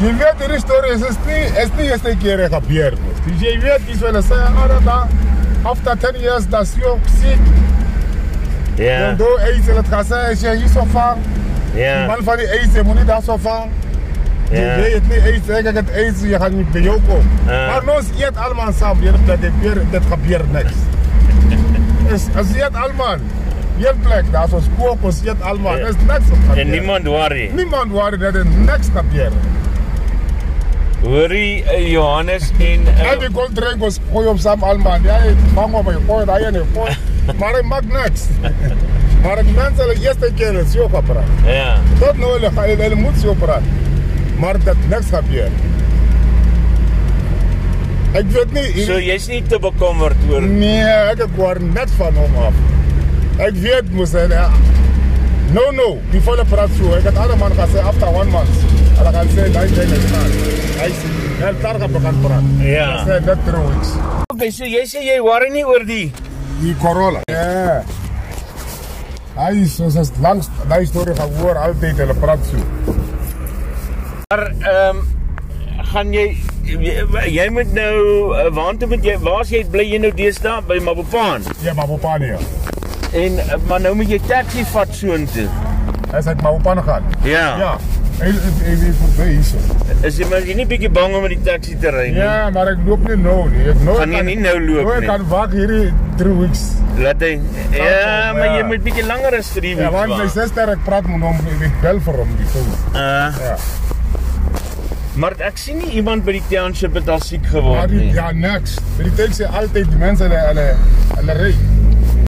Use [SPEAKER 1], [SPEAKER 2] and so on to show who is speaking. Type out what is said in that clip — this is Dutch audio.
[SPEAKER 1] Je weet, er is door, het is niet, het is niet eens een keer gebeurd. Dus je weet, die zullen zeggen, ah, dat, after 10 years, dat is je ook ziek. En
[SPEAKER 2] Ja,
[SPEAKER 1] door eten, het gaat zijn, als je hier zo van, die
[SPEAKER 2] ja,
[SPEAKER 1] man van die eten moet niet daar zo van. Je weet
[SPEAKER 2] ja.
[SPEAKER 1] het niet eens, kijk het eten, je gaat niet bij jou komen.
[SPEAKER 2] Ja.
[SPEAKER 1] Maar ons eet allemaal samen, je hebt dat gebeurt, dat gebeurt niks. dus, als je eet allemaal, je plek, dat is ons koop, ons eet allemaal,
[SPEAKER 2] Ja.
[SPEAKER 1] er is niks op
[SPEAKER 2] En
[SPEAKER 1] gebeurt.
[SPEAKER 2] niemand worry.
[SPEAKER 1] Niemand worry dat er niks gebeurt.
[SPEAKER 2] Hoorie, eh, Johannes en... eh,
[SPEAKER 1] En die gold drink was gooi op Sam Alman. Ja, je bang op je poort, hij en je poort. Maar ik maak niks. Maar ik ben zelf de eerste keer een sjoka praat.
[SPEAKER 2] Ja,
[SPEAKER 1] Tot nu toe ga je wel moet zo praten. Maar dat niks gebeurt. Ik weet niet.
[SPEAKER 2] so
[SPEAKER 1] ik-
[SPEAKER 2] jy's nie te bekommerd oor...
[SPEAKER 1] Nee, ik hoor net van hem af. Ik weet, moest hij. ja. No, no, die volle praat zo. Ik had alle man gaan zeggen, after one month. En dan gaan ze zeggen, dat is het staat. Hij is heel klaar gaan beginnen praten.
[SPEAKER 2] Ja.
[SPEAKER 1] Dat zijn net drie weeks.
[SPEAKER 2] Okay, so jy sê jy worry nie oor die...
[SPEAKER 1] Die Corolla. Ja. Hij is zoals het langst, hij is door gehoor altijd in de praat zo.
[SPEAKER 2] Maar ehm gaan jy jy- jy moet nou eh, waartoe moet jy waar's jy bly jy nou deesdae by Mabopane?
[SPEAKER 1] Ja, maar op aan hier.
[SPEAKER 2] En eh, maar nou moet jy taxi vat soontoe.
[SPEAKER 1] Hij zegt, maar op aan gaan.
[SPEAKER 2] Ja.
[SPEAKER 1] Ja. Hij is even voorbij hier zo.
[SPEAKER 2] Is jy maar jy nie bietjie bang om met die taxi te ry nie?
[SPEAKER 1] Ja, maar ik loop niet nou. Nie. Ik nooit
[SPEAKER 2] Gaan jy nie nou loop
[SPEAKER 1] nooit
[SPEAKER 2] nie?
[SPEAKER 1] kan waak hier drie weeks.
[SPEAKER 2] Laat hy Ja,
[SPEAKER 1] Dankie,
[SPEAKER 2] maar
[SPEAKER 1] ja.
[SPEAKER 2] jy moet bietjie langer as 3
[SPEAKER 1] Ja, want mijn
[SPEAKER 2] weke.
[SPEAKER 1] zuster, ik praat met hem, ik bel voor hem die foon.
[SPEAKER 2] Uh,
[SPEAKER 1] Ja.
[SPEAKER 2] maar ek sien nie iemand by die township het al siek
[SPEAKER 1] Maar
[SPEAKER 2] geword
[SPEAKER 1] die,
[SPEAKER 2] nie.
[SPEAKER 1] ja, niks. Die tijd zijn altijd die mensen aan de rij.